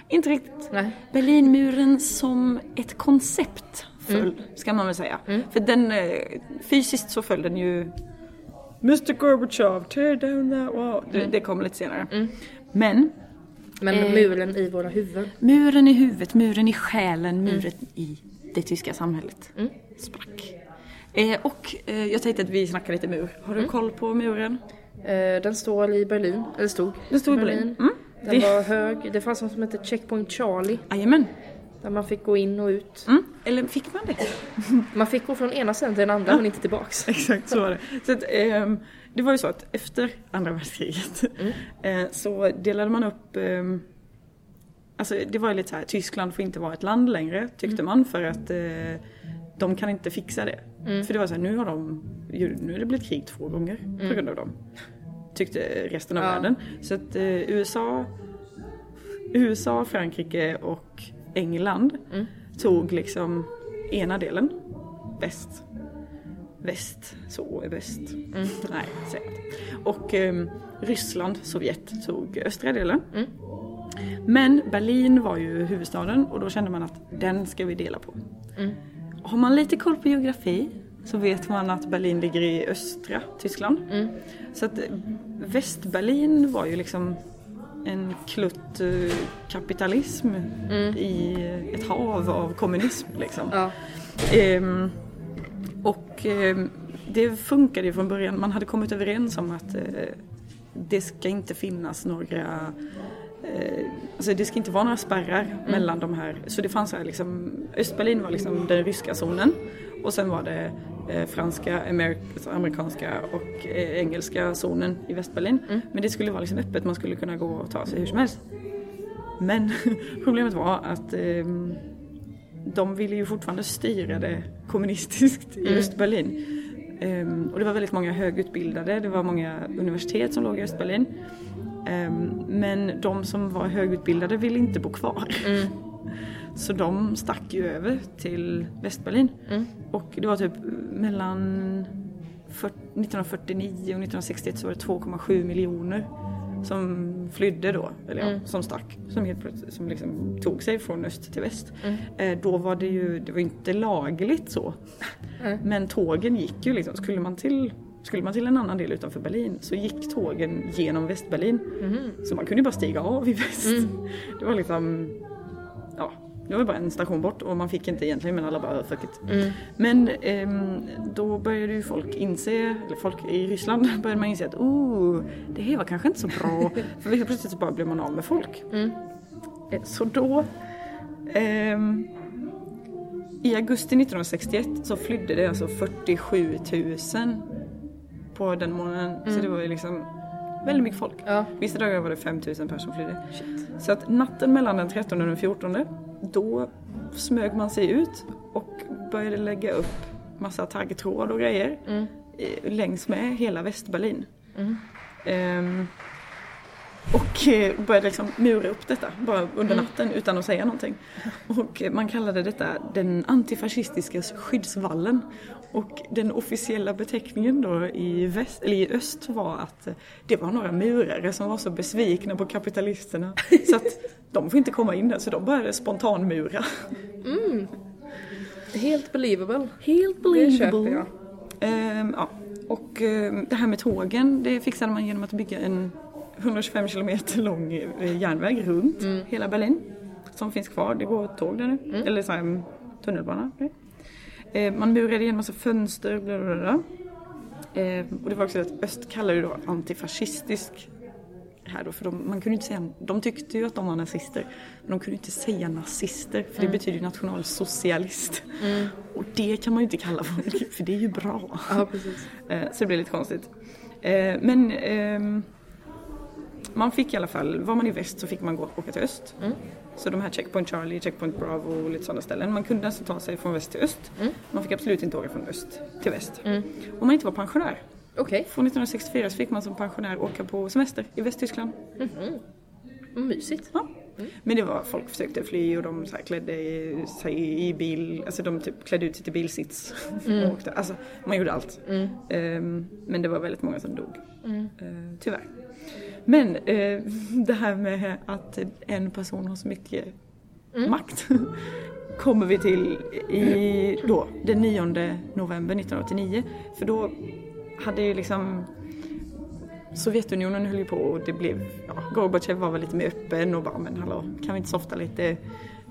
[SPEAKER 2] Inte riktigt.
[SPEAKER 1] Nej.
[SPEAKER 2] Berlinmuren som ett koncept föll, ska man väl säga. För den, eh, fysiskt så föll den ju Mr Gorbachev, tear down that wall. Det, det kom lite senare. Men
[SPEAKER 1] Men muren i våra huvuden.
[SPEAKER 2] Muren i huvudet, muren i själen, muren i det tyska samhället sprack. Eh, och eh, jag tänkte att vi snackar lite mur. Har du koll på muren?
[SPEAKER 1] Eh, den står i Berlin, eller stod.
[SPEAKER 2] Den stod i Berlin. Mm.
[SPEAKER 1] Den
[SPEAKER 2] Det-
[SPEAKER 1] var hög. Det fanns något som hette Checkpoint Charlie.
[SPEAKER 2] Jajamän.
[SPEAKER 1] Där man fick gå in och ut.
[SPEAKER 2] Mm. Eller fick man det?
[SPEAKER 1] Man fick gå från ena sidan till den andra men inte tillbaks.
[SPEAKER 2] Exakt så var det. Så att, ehm, det var ju så att efter andra världskriget eh, så delade man upp ehm, Alltså det var ju lite så här, Tyskland får inte vara ett land längre tyckte man för att eh, de kan inte fixa det. För det var så här, nu har de, ju- nu har det blivit krig två gånger på grund av dem. Tyckte resten av
[SPEAKER 1] Ja.
[SPEAKER 2] världen. Så att eh, USA, USA, Frankrike och England tog liksom ena delen, väst. Väst, så är bäst. Nej, säg inte. Och ehm, Ryssland, Sovjet tog östra delen. Men Berlin var ju huvudstaden och då kände man att den ska vi dela på. Har man lite koll på geografi så vet man att Berlin ligger i östra Tyskland. Så att eh, Västberlin var ju liksom en klutt eh, kapitalism i ett hav av kommunism liksom.
[SPEAKER 1] Ja.
[SPEAKER 2] Ehm, och ehm, det funkade ju från början. Man hade kommit överens om att eh, det ska inte finnas några eh, Alltså det ska inte vara några spärrar mellan de här. Så det fanns så här liksom, Östberlin var liksom den ryska zonen och sen var det eh, franska, amer- alltså amerikanska och eh, engelska zonen i Västberlin. Men det skulle vara liksom öppet, man skulle kunna gå och ta sig hur som helst. Men problemet var att ehm, de ville ju fortfarande styra det kommunistiskt i Östberlin. Ehm, och det var väldigt många högutbildade, det var många universitet som låg i Östberlin. Ehm, men de som var högutbildade ville inte bo kvar. Så de stack ju över till Västberlin. Och det var typ mellan fyrt- 1949 och 1961 så var det 2,7 miljoner som flydde då, eller ja, som stack, som helt plötsligt som liksom tog sig från öst till väst. Eh, då var det ju, det var ju inte lagligt så. Men tågen gick ju liksom, skulle man till skulle man till en annan del utanför Berlin så gick tågen genom Västberlin. Så man kunde ju bara stiga av i väst. Det var liksom ja, det var ju bara en station bort och man fick inte egentligen men alla bara fuck it. Men ehm, då började ju folk inse, eller folk i Ryssland började man inse att oh, det här var kanske inte så bra. För helt plötsligt så bara blev man av med folk. Eh, Så då ehm, i augusti 1961 så flydde det alltså 47 000 på den månaden. Så det var ju liksom väldigt mycket folk.
[SPEAKER 1] Ja.
[SPEAKER 2] Vissa dagar var det 5 000 personer som flydde. Så att natten mellan den 13 och den 14 då smög man sig ut och började lägga upp massa taggtråd och grejer eh, längs med hela Västberlin. Ehm, och eh, började liksom mura upp detta bara under natten utan att säga någonting. Och eh, man kallade detta den antifascistiska skyddsvallen. Och den officiella beteckningen då i, väst, eller i öst var att eh, det var några murare som var så besvikna på kapitalisterna så att de får inte komma in där så de började spontanmura.
[SPEAKER 1] Helt believable.
[SPEAKER 2] Helt
[SPEAKER 1] Det köper
[SPEAKER 2] believable.
[SPEAKER 1] jag.
[SPEAKER 2] Ehm, ja. Och ehm, det här med tågen, det fixade man genom att bygga en 125 kilometer lång eh, järnväg runt
[SPEAKER 1] Mm.
[SPEAKER 2] hela Berlin. Som finns kvar, det går tåg där nu. Eller så här, mm, tunnelbana. Nej. Ehm, man murade igen massa fönster, bla bla bla. Ehm, och det var också att öst kallar ju då antifascistisk här då, för de, man kunde inte säga, de tyckte ju att de var nazister, men de kunde inte säga nazister för det betyder ju nationalsocialist. Och det kan man ju inte kalla folk, för det är ju bra.
[SPEAKER 1] Ja, precis.
[SPEAKER 2] Eh, Så det blir lite konstigt. Eh, Men ehm, man fick i alla fall, var man i väst så fick man gå, åka till öst. Så de här Checkpoint Charlie, Checkpoint Bravo och lite sådana ställen. Man kunde alltså ta sig från väst till öst. Man fick absolut inte åka från öst till väst. Om man inte var pensionär.
[SPEAKER 1] Okej,
[SPEAKER 2] Från 1964 så fick man som pensionär åka på semester i Västtyskland.
[SPEAKER 1] mysigt.
[SPEAKER 2] Ja. Men det var, folk försökte fly och de så här klädde i- sig i bil, alltså de typ klädde ut sig till bilsits. Och åkte. Alltså man gjorde allt. Ehm, men det var väldigt många som dog. Ehm, tyvärr. Men eh, det här med att en person har så mycket makt. kommer vi till i då, den 9 november 1989. För då hade ju liksom Sovjetunionen höll ju på och det blev, ja, Gorbatjev var väl lite mer öppen och bara men hallå, kan vi inte softa lite?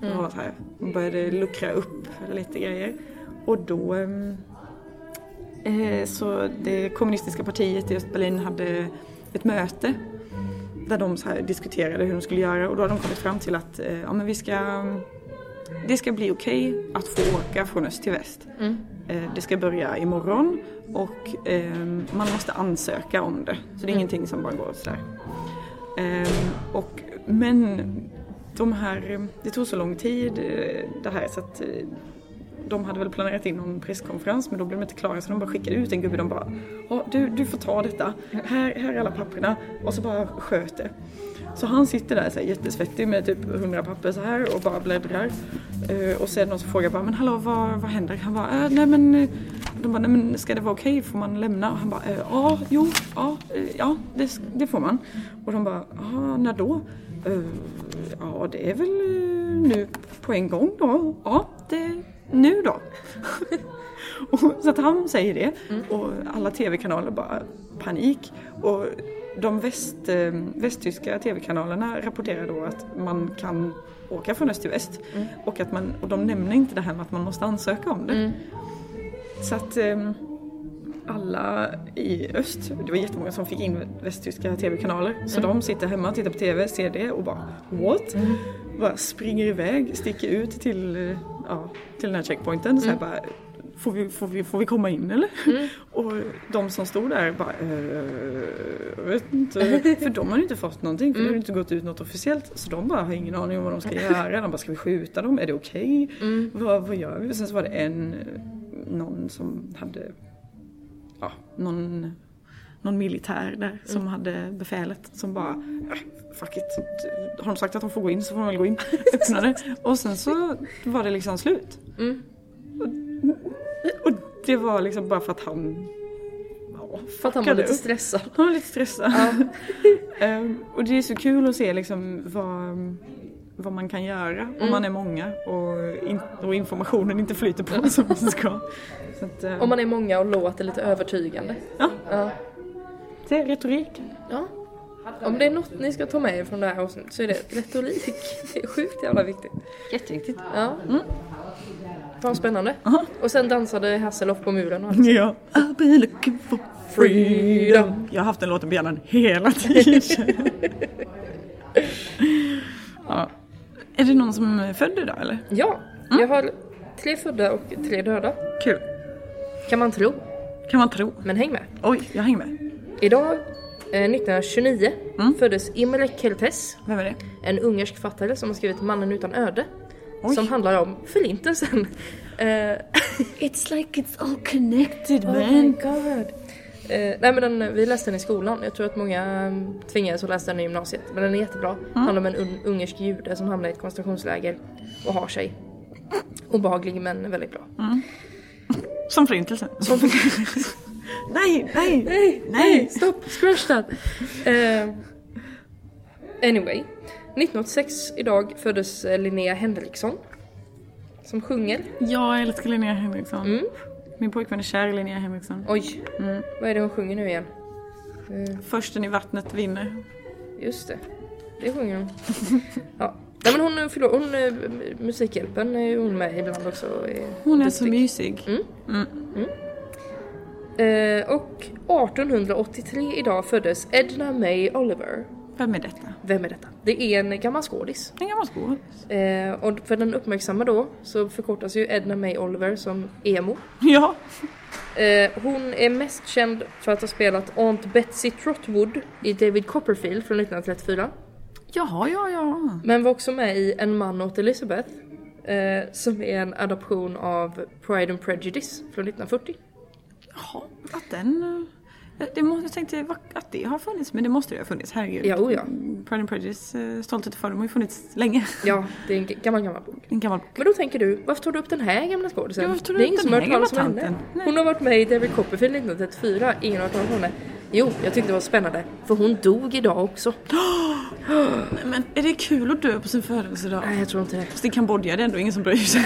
[SPEAKER 2] Mm. Och så här, och började luckra upp lite grejer. Och då ehm, eh, så det kommunistiska partiet i Östberlin hade ett möte där de så här diskuterade hur de skulle göra och då hade de kommit fram till att eh, ja, men vi ska, det ska bli okej att få åka från öst till väst. Eh, Det ska börja imorgon och ehm, man måste ansöka om det. Så det är ingenting som bara går sådär. Ehm, och, men de här, eh, det tog så lång tid eh, det här så att eh, de hade väl planerat in någon presskonferens men då blev de inte klara så de bara skickade ut en gubbe. De bara "Ja, du, du får ta detta, här, här är alla papperna och så bara sköt det. Så han sitter där så här, jättesvettig med typ 100 papper så här och bara bläddrar. Eh, och sen någon som frågar bara men hallå vad, vad händer? Han bara "Eh, nej men eh." de bara nej men ska det vara okej? Får man lämna? Och han bara "Eh, ja, jo, ja, eh, ja det, s- det får man. Och de bara ja, när då? "Eh, ja det är väl eh, nu på en gång då. Ja, det, nu då. Och så att han säger det och alla tv-kanaler bara panik. Och de väst, eh, västtyska tv-kanalerna rapporterar då att man kan åka från öst till väst. Och, att man, och de nämner inte det här med att man måste ansöka om det. Så att eh, alla i öst, det var jättemånga som fick in västtyska tv-kanaler. Så de sitter hemma och tittar på tv, ser det och bara what? Bara springer iväg, sticker ut till, eh, ja, till den här checkpointen. Så här bara, får, vi, får, vi, får vi komma in eller? Och de som stod där bara, eh, jag vet inte. För de har ju inte fått någonting för det har ju inte gått ut något officiellt. Så de bara har ingen aning om vad de ska göra. De bara, ska vi skjuta dem? Är det okej? Vad, vad gör vi? Och sen så var det en, någon som hade ja, någon, någon militär där som
[SPEAKER 1] Mm.
[SPEAKER 2] hade befälet som bara "Äh, Fuck it. Har de sagt att de får gå in så får de väl gå in. Öppnade. Och sen så var det liksom slut.
[SPEAKER 1] Mm.
[SPEAKER 2] Och, och det var liksom bara för att han ja,
[SPEAKER 1] För att han var
[SPEAKER 2] fuckade
[SPEAKER 1] lite
[SPEAKER 2] upp.
[SPEAKER 1] stressad.
[SPEAKER 2] Han var lite stressad. Ehm, och det är så kul att se liksom vad, vad man kan göra
[SPEAKER 1] Mm.
[SPEAKER 2] om man är många och, in, och informationen inte flyter på som den ska. Så att, eh,
[SPEAKER 1] Om man är många och låter lite övertygande.
[SPEAKER 2] Ja.
[SPEAKER 1] Ja.
[SPEAKER 2] det är retorik.
[SPEAKER 1] ja. Om det är något ni ska ta med er från det här avsnittet så är det retorik. Det är sjukt jävla viktigt.
[SPEAKER 2] Jätteviktigt. Mm.
[SPEAKER 1] Ja. Fan spännande. Och sen dansade Hasselhoff på muren och allt.
[SPEAKER 2] Ja. I've been looking for freedom. Jag har haft den låten på hjärnan hela tiden. ja. Är det någon som är född idag eller?
[SPEAKER 1] Ja,
[SPEAKER 2] Mm.
[SPEAKER 1] jag har tre födda och tre döda.
[SPEAKER 2] Kul.
[SPEAKER 1] Kan man tro,
[SPEAKER 2] Kan man tro.
[SPEAKER 1] men häng med.
[SPEAKER 2] Oj, jag hänger med.
[SPEAKER 1] Idag, eh, 1929,
[SPEAKER 2] Mm.
[SPEAKER 1] föddes Imre Kertész,
[SPEAKER 2] Vem är det?
[SPEAKER 1] en ungersk författare som har skrivit Mannen utan öde.
[SPEAKER 2] Oj.
[SPEAKER 1] Som handlar om förintelsen. Eh,
[SPEAKER 3] It's like it's all
[SPEAKER 2] Connected
[SPEAKER 1] oh my god. Eh, nej men den, vi läste den i skolan. Jag tror att många mm, tvingades att läsa den i gymnasiet. Men den är jättebra. Handlar om en un- ungersk jude som hamnar i ett koncentrationsläger och har sig. Obehaglig men väldigt bra.
[SPEAKER 2] Som förintelsen. nej, nej,
[SPEAKER 1] Nej, nej,
[SPEAKER 2] nej.
[SPEAKER 1] stopp, scratch that. Eh, anyway, 1986 idag föddes eh, Linnea Henriksson. Som sjunger.
[SPEAKER 2] Jag älskar Linnea Henriksson.
[SPEAKER 1] Mm.
[SPEAKER 2] Min pojkvän är kär i Linnea Henriksson.
[SPEAKER 1] Oj,
[SPEAKER 2] Mm.
[SPEAKER 1] vad är det hon sjunger nu igen? Eh,
[SPEAKER 2] Försten i vattnet vinner.
[SPEAKER 1] just det, det sjunger hon. ja. Nej men hon, eh, förlåt, hon, eh, Musikhjälpen är ju hon med ibland också. och
[SPEAKER 2] Hon är så
[SPEAKER 1] duktig.
[SPEAKER 2] mysig.
[SPEAKER 1] Mm. Eh, och 1883 idag föddes Edna May Oliver.
[SPEAKER 2] Vem är detta?
[SPEAKER 1] Vem är detta? Det är en gammal skådis.
[SPEAKER 2] En gammal skål.
[SPEAKER 1] Eh, och för den uppmärksamma då så förkortas ju Edna May Oliver som EMO.
[SPEAKER 2] Ja.
[SPEAKER 1] Eh, hon är mest känd för att ha spelat Aunt Betsy Trotwood i David Copperfield från 1934.
[SPEAKER 2] Jaha, ja, ja.
[SPEAKER 1] Men var också med i En man åt Elizabeth eh, som är en adaption av Pride and Prejudice från 1940.
[SPEAKER 2] Jaha, att den... eh, Det måste, jag tänkte va- att det har funnits, men det måste det ha funnits, herregud.
[SPEAKER 1] Ja, oja.
[SPEAKER 2] Pride and Prejudice, eh, Stolthet och fördom har ju funnits länge.
[SPEAKER 1] Ja, det är en g- gammal gammal bok.
[SPEAKER 2] En gammal
[SPEAKER 1] Men då tänker du, varför tar du upp den här gamla skådisen?
[SPEAKER 2] Ja, varför tar du
[SPEAKER 1] det är
[SPEAKER 2] upp
[SPEAKER 1] ingen som
[SPEAKER 2] den
[SPEAKER 1] har hört talas
[SPEAKER 2] här
[SPEAKER 1] om
[SPEAKER 2] gamla tanten?
[SPEAKER 1] henne.
[SPEAKER 2] Nej.
[SPEAKER 1] Hon har varit med i David Copperfield 1934, ingen har hört talas om henne. Jo, jag tyckte det var spännande. För hon dog idag också.
[SPEAKER 2] Men är det kul att dö på sin födelsedag?
[SPEAKER 1] Nej, jag tror inte det.
[SPEAKER 2] Fast i Kambodja är det ändå ingen som bryr sig.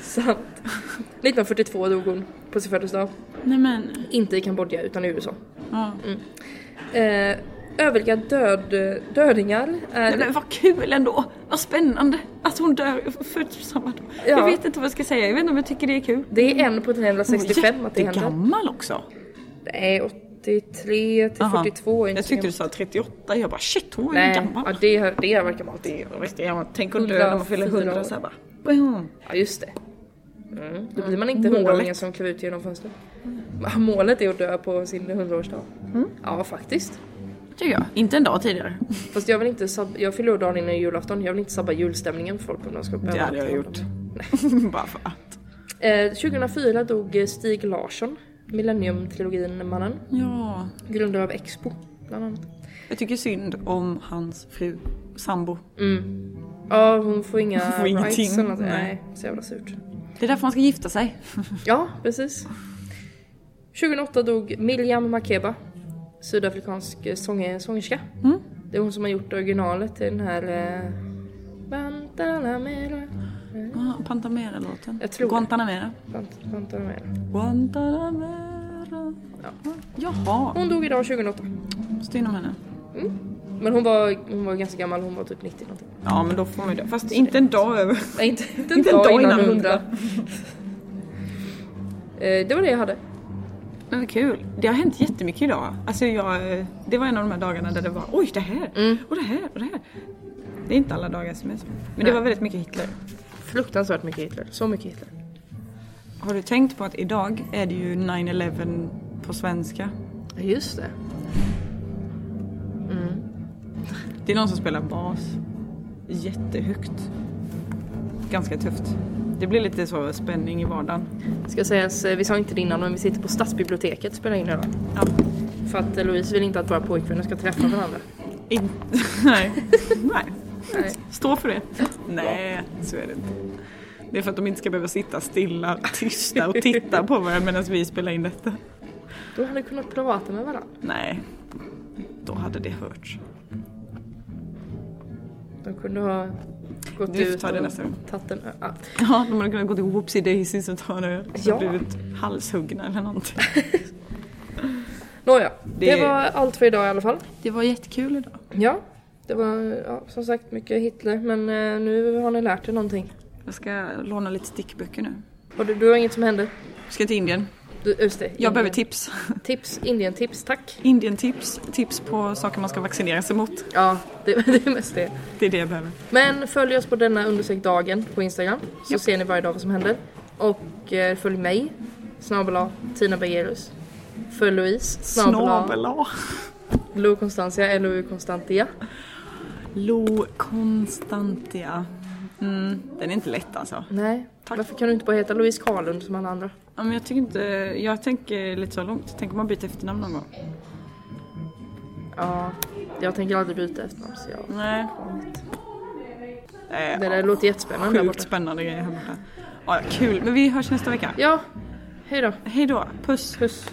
[SPEAKER 1] Sant. 1942 dog hon på sin födelsedag.
[SPEAKER 2] Nej men,
[SPEAKER 1] Inte i Kambodja utan i USA.
[SPEAKER 2] ja.
[SPEAKER 1] Eh, övriga död, dödingar är...
[SPEAKER 2] Nej, men vad kul ändå! Vad spännande att hon dör och föds på samma dag.
[SPEAKER 1] Ja.
[SPEAKER 2] Jag vet inte vad jag ska säga, jag vet inte om jag tycker det är kul.
[SPEAKER 1] Det är en på 365 att det händer.
[SPEAKER 2] jättegammal också.
[SPEAKER 1] Nej, 83 till
[SPEAKER 2] Aha.
[SPEAKER 1] 42 är inte
[SPEAKER 2] Jag
[SPEAKER 1] så
[SPEAKER 2] tyckte du
[SPEAKER 1] gammalt.
[SPEAKER 2] sa 38, jag bara shit hon är ju
[SPEAKER 1] Nej,
[SPEAKER 2] gammal.
[SPEAKER 1] ja, det, det verkar gammalt.
[SPEAKER 2] Det är riktigt gammalt. Tänk att dö när man fyller
[SPEAKER 1] 104
[SPEAKER 2] 100 så här bara. boom.
[SPEAKER 1] Ja, just det. Mm. Då blir man inte
[SPEAKER 2] Målet.
[SPEAKER 1] hundraåringen som klev ut genom fönstret. Målet är att dö på sin hundraårsdag.
[SPEAKER 2] Mm.
[SPEAKER 1] Ja, faktiskt.
[SPEAKER 2] Det gör jag. Inte en dag tidigare.
[SPEAKER 1] Fast jag vill inte sab- jag fyller år dagen innan julafton. Jag vill inte sabba julstämningen för folk om de ska behöva.
[SPEAKER 2] Det hade jag
[SPEAKER 1] ta hand om
[SPEAKER 2] gjort. Bara för att.
[SPEAKER 1] det. Eh, 2004 dog Stig Larsson, Millennium-trilogin-mannen.
[SPEAKER 2] Ja.
[SPEAKER 1] Grundare av Expo, bland annat.
[SPEAKER 2] Jag tycker synd om hans fru. Sambo.
[SPEAKER 1] Ja, hon får inga
[SPEAKER 2] Hon får ingenting.
[SPEAKER 1] rights eller något.
[SPEAKER 2] Nej.
[SPEAKER 1] Nej, så jävla surt.
[SPEAKER 2] Det är därför man ska gifta sig.
[SPEAKER 1] Ja, precis. 2008 dog Miljam Makeba, sydafrikansk eh, sånge- sångerska.
[SPEAKER 2] Mm.
[SPEAKER 1] Det är hon som har gjort originalet till den här... Eh, Bantanamera.
[SPEAKER 2] Ah, Pantamera-låten.
[SPEAKER 1] Jag tror det.
[SPEAKER 2] Guantanamera.
[SPEAKER 1] Bant- Bantanamera.
[SPEAKER 2] Guantanamera.
[SPEAKER 1] Ja.
[SPEAKER 2] Jaha.
[SPEAKER 1] Hon dog idag 2008.
[SPEAKER 2] Styr om henne.
[SPEAKER 1] Men hon var, hon var ganska gammal, hon var typ 90 någonting.
[SPEAKER 2] Ja men då får man ju det. Fast inte en dag över.
[SPEAKER 1] Nej, inte, inte en dag innan 100. Eh, det var det jag hade.
[SPEAKER 2] Men vad kul. Det har hänt jättemycket idag. Alltså jag, eh, det var en av de här dagarna där det var oj det här och det här och det här. Det är inte alla dagar som är så. Men det
[SPEAKER 1] Nej.
[SPEAKER 2] var väldigt mycket Hitler.
[SPEAKER 1] Fruktansvärt mycket Hitler. Så mycket Hitler.
[SPEAKER 2] Har du tänkt på att idag är det ju 9-11 på svenska?
[SPEAKER 1] Ja, just det.
[SPEAKER 2] Det är någon som spelar bas. Jättehögt. Ganska tufft. Det blir lite så spänning i vardagen.
[SPEAKER 1] Ska sägas, eh, vi sa inte det innan men vi sitter på stadsbiblioteket och spelar in idag.
[SPEAKER 2] Ja.
[SPEAKER 1] För att eh, Louise vill inte att våra pojkvänner ska träffa varandra.
[SPEAKER 2] In... Nej. Nej.
[SPEAKER 1] Nej.
[SPEAKER 2] Stå för det. Nej, så är det inte. Det är för att de inte ska behöva sitta stilla, tysta och titta på varandra medan vi spelar in detta.
[SPEAKER 1] Då hade vi kunnat prata med varandra.
[SPEAKER 2] Nej, då hade det hörts.
[SPEAKER 1] De kunde ha gått
[SPEAKER 2] Vi får
[SPEAKER 1] ut
[SPEAKER 2] ta det nästa gång.
[SPEAKER 1] tagit en ö- ah.
[SPEAKER 2] Ja, de hade kunnat gå till Whoopsie Daisies och ta en öl och så
[SPEAKER 1] Ja.
[SPEAKER 2] blivit halshuggna eller någonting.
[SPEAKER 1] Nåja, det...
[SPEAKER 2] Det-
[SPEAKER 1] var allt för idag i alla fall.
[SPEAKER 2] Det var jättekul idag.
[SPEAKER 1] Ja, det var ja, som sagt mycket Hitler men eh, nu har ni lärt er någonting.
[SPEAKER 2] Jag ska låna lite stickböcker nu.
[SPEAKER 1] Och du, du har inget som hände?
[SPEAKER 2] Jag ska till Indien.
[SPEAKER 1] Du, just det,
[SPEAKER 2] Jag
[SPEAKER 1] Indien.
[SPEAKER 2] behöver tips.
[SPEAKER 1] tips. Indien-tips, tack.
[SPEAKER 2] Indien-tips, tips på saker man ska vaccinera sig mot.
[SPEAKER 1] Ja, det, det är mest det.
[SPEAKER 2] Det är det jag behöver.
[SPEAKER 1] Men följ oss på denna undersökt dagen på Instagram så ser ni varje dag vad som händer. Och eh, följ mig, snabel-a Tina Bergerus. Följ Louise, snabel-a
[SPEAKER 2] Snabel-a.
[SPEAKER 1] Lo Constantia, LOU Constantia.
[SPEAKER 2] Lo Constantia. Mm, den är inte lätt alltså.
[SPEAKER 1] Nej,
[SPEAKER 2] Tack.
[SPEAKER 1] varför kan du inte bara heta Louise Karlund som alla andra?
[SPEAKER 2] Ja, men jag, tycker inte, jag tänker lite så långt. Tänk om man byter efternamn någon gång.
[SPEAKER 1] Ja, jag tänker aldrig byta efternamn så jag...
[SPEAKER 2] Nej. Eh,
[SPEAKER 1] Det där låter jättespännande där
[SPEAKER 2] sjukt
[SPEAKER 1] borta.
[SPEAKER 2] spännande grejer här borta. Ja, kul. Men vi hörs nästa vecka.
[SPEAKER 1] Ja, hej då.
[SPEAKER 2] Hej då. Puss.
[SPEAKER 1] Puss.